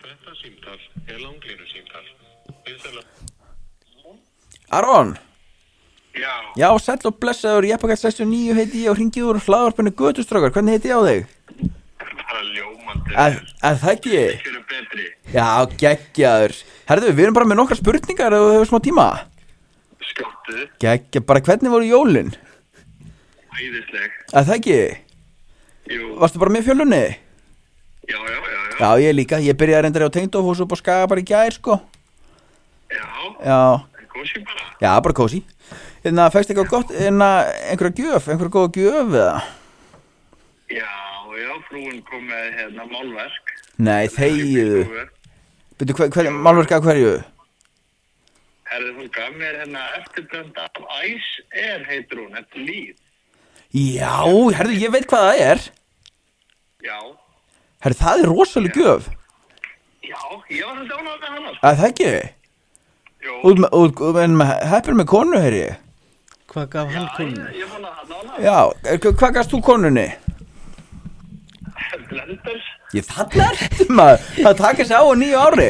Þetta símtall er langlínu símtall. Viðstæðlega. Aron, Já, já, sæll og blessaður, ég pakkaði 69 heiti ég og hringið úr hlaðvarpinu Götustrákar, hvernig heiti ég á þig? bara ljómandi. Er, er það ekki? ég? Ekki eru betri. Já, geggjaður. Herðu, við erum bara með nokkra spurningar ef þú hefur smá tíma. Skjóttu, Geggja, bara hvernig voru jólin? æðisleg. Er það ekki? Jú, Varstu bara með fjölunni? já, já, já, já. Já, ég líka, ég byrjaði reyndar á Tengdóf og svo bara skaga bara í gær, sko. Já, Já, góðsum bara. já, bara kósi. Þannig að fæst eitthvað gott, þannig að einhverja gjöf, einhverja góða gjöf eða? Já, já, frúin kom með hérna málverk. Nei, þegiðu. Frúin. Byrju, hver, hver, málverk af hverju? Herði hún gaf mér hérna eftirbrönda af Ice Air heitir hún, þetta er líf. Já, herðu, ég veit hvað það er. Já, Herðu, það er rosalega gjöf. já, ég var þetta ánað með hana. sko. Er það ekki? Jú, Út með, út, út með, heppir með konu, herri. Hvað gaf hann já, konu? ég, ég fann að hann ánað. Já, er, hva- hvað gafst þú konunni? Blenders. Ég þarna ertu maður, það takast á á nýju ári.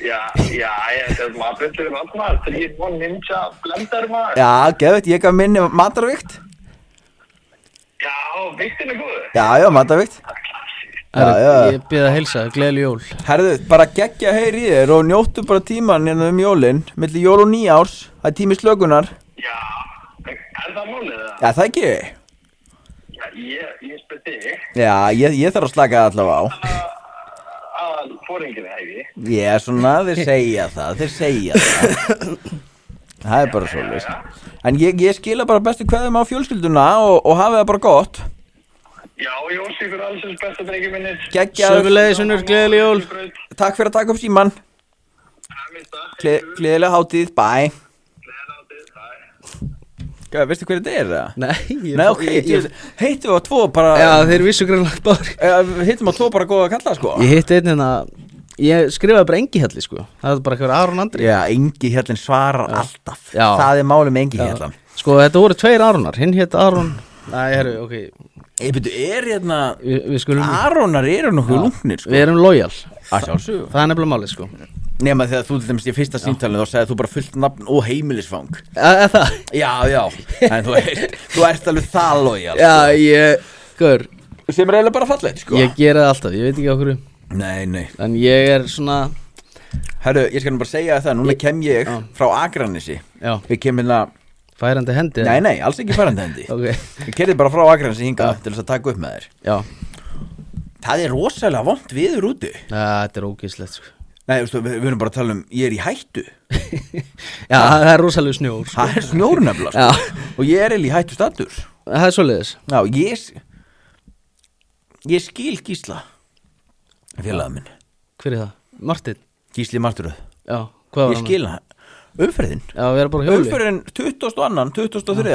Já, já, ég, þetta er maður betur en allmar. Þrýr von ninja blender maður. Já, geðvett, ég gaf minni matarvikt. Já, vittin er góður. Já, já, matarvikt. Herru, Já, já. Ég byrði að heilsa, gleðli jól Herðu, bara geggja heyri í þér og njóttu bara tíman hérna um jólin, milli jól og nýjárs, það er tími slökunar. Já, er það málið það? Já, það ekki? Já, ég, ég spyr þig Já, ég, ég þarf að slaka það allavega á. að fóringinu hefði. Já, svona, þeir segja það, þeir segja það Það er bara svo list En ég, ég skila bara bestu kveðum á fjölskylduna og, og hafi það bara gott Já, Jón Sigur, alls er besta drengi minnir. Gekkjaður, Sömulegis unnur, gleðli jól takk fyrir að taka upp síman Gleðilega hátíð, bæ Hvað, veistu hverju þetta er það? Nei, ég, Nei, ok, ég, ég, heitum við á tvo bara Já, þeir vissu greinlega báður eh, Heitum á tvo bara góða að kalla, sko Ég hitti einn hérna Ég skrifaði bara engi helli sko Það er bara hver Aron Andri Já, engi hjallin svarar alltaf Já. Það er málið með engi Já. hjallan Sko þetta voru tveir Aronar Hinn hétt Aron Nei, herru, ok Ég byrju, er hérna Vi, Við skulum Aronar eru nokkuð lúknir, sko Við erum lojal Að sjálfsögum Það er nefnilega málið sko Nefna þegar þú til dæmis í fyrsta síntalinu þá segði þú bara fullt nafn og heimilisfang Eða eða það Já, já, en þú, er, þú ert alveg það lojal Já, ég Hver Sem er eiginlega bara fallegt, sko Ég gera það alltaf Ég veit ekki okkur um, Nei, nei En ég er svona Herru, ég skal nú bara segja það, núna kem ég frá Akranesi Já Ég kem hérna, Færandi hendi nei, nei, alls ekki farandendi Ok Ég kerði bara frá Akranesi hingað til þess að taka upp með þér Já Það er rosalega vond viður úti Æ, Þetta er ógíslegt sko Nei, veistu, við, við erum bara að tala um, ég er í hættu Já, það er rosalega snjór sko. Það er snjór nefnilega, Já. sko Og ég er eiginlega í hættu status Það er svoleiðis Já, ég Ég skil Gísla Félaga minn Hver er það? Martin Gísli Marturöð Já, hvað var Ég hann? skil hann Umferðin Já, við erum bara á hjóli Umferðin 22, 23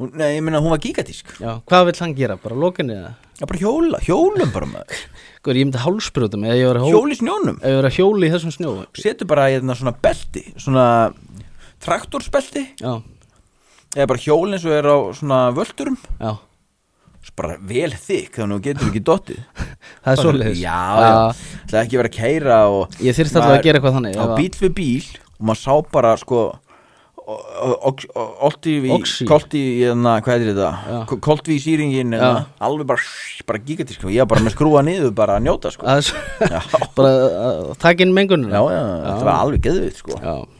hún, Nei, ég meina hún var gigatísk Já, hvað vill hann gera? Bara lokinni eða? Já, bara hjóla Hjólum bara maður Guður, ég myndi hálsbrotum eða ég var að hjóli Hjóli snjónum Ef ég var að hjóli í þessum snjó Setur bara hérna svona belti Svona traktorsbelti Já, Eða bara hjól eins og er á svona völdurum já Svo bara vel þykk Þannig að þú getur ekki dottið Það er svoleiðis Já, já Það er ekki verið að keira og Ég þyrfti alltaf að Maður- gera eitthvað þannig, Já, ef að- bíl við bíl og maður sá bara sko Olti í Oxy. Kolti í hérna, hvað er þetta Já. Ko- Kolti í sýringin hérna, Alveg bara, bara gigatísk og Ég var bara með skrúa niður bara að njóta sko Það er svo Bara að uh, taka inn mengunina Já, já, þetta var alveg geðvitt sko Já